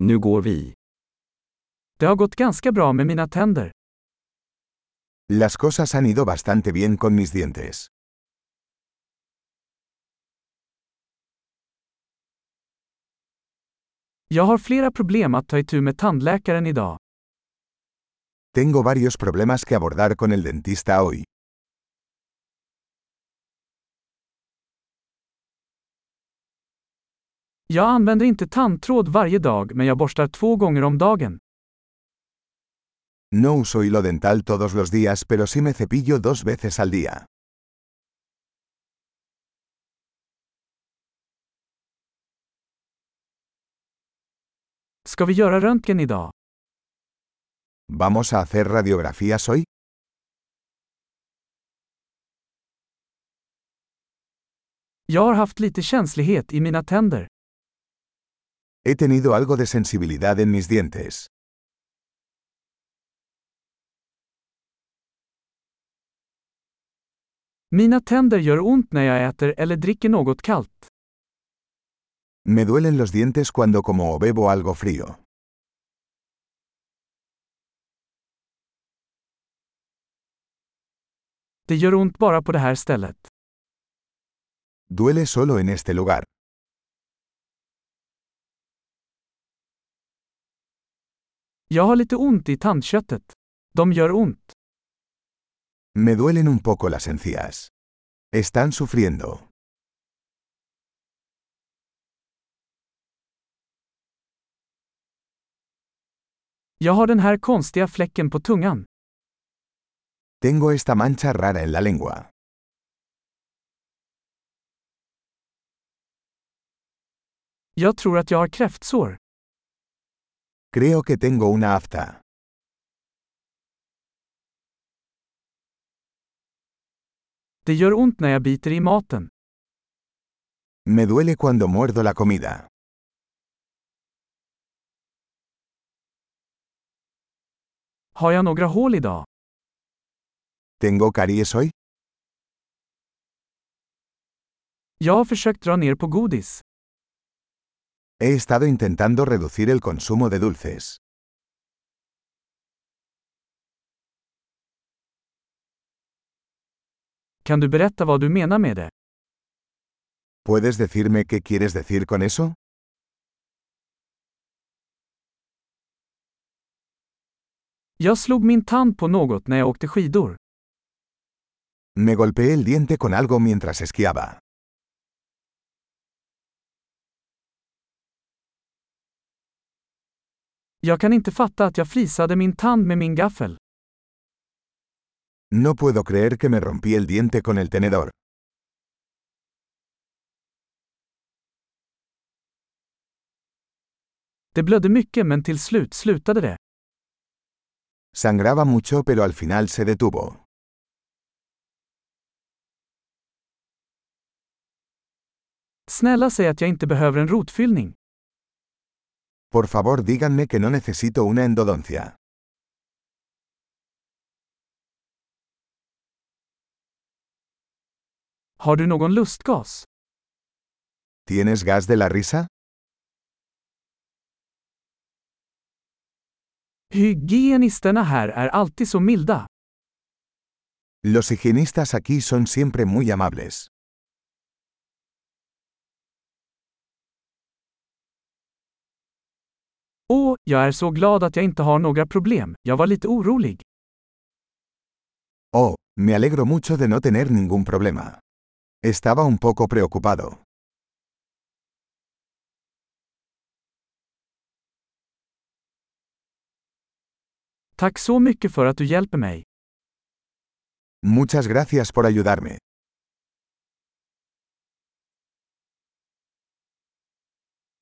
Nu går vi. Det har gått ganska bra med mina tänder. Las cosas han ido bastante bien con mis dientes. Jag har flera problem att ta itu med tandläkaren idag. Tengo varios problemas que abordar con el dentista hoy. Jag använder inte tandtråd varje dag men jag borstar två gånger om dagen. No uso hilo dental todos los días, pero sí me cepillo dos veces al día. Ska vi göra röntgen idag? ¿Vamos a hacer radiografías hoy? Jag har haft lite känslighet i mina tänder. He tenido algo de sensibilidad en mis dientes. Mina tänder gör ont när jag äter eller dricker något kallt. Me duelen los dientes cuando como o bebo algo frío. Det gör ont bara på det här stället. Duele solo en este lugar. Jag har lite ont i tandköttet. De gör ont. Me duelen un poco las encías. Están sufriendo. Jag har den här konstiga fläcken på tungan. Tengo esta mancha rara en la lengua. Jag tror att jag har kräftsår. Creo que tengo una afta. Det gör ont när jag biter i maten. Me duele cuando muerdo la comida. Har jag några hål idag? ¿Tengo caries hoy? Jag har försökt dra ner på godis. He estado intentando reducir el consumo de dulces. Kan du berätta vad du menar med det? ¿Puedes decirme qué quieres decir con eso? Jag slog min tand på något när jag åkte skidor. Me golpeé el diente con algo mientras esquiaba. Jag kan inte fatta att jag frisade min tand med min gaffel. No puedo creer que me rompí el diente con el tenedor. Det blödde mycket men till slut slutade det. Sangraba mucho pero al final se detuvo. Snälla säg att jag inte behöver en rotfyllning. Por favor díganme que no necesito una endodoncia. Har du någon lustgas? ¿Tienes gas de la risa? Hygienisterna här är alltid så milda. Los higienistas aquí son siempre muy amables. Åh, jag är så glad att jag inte har några problem. Jag var lite orolig. Oh, me alegro mucho de no tener ningún problema. Estaba un poco preocupado. Tack så mycket för att du hjälper mig. Muchas gracias por ayudarme.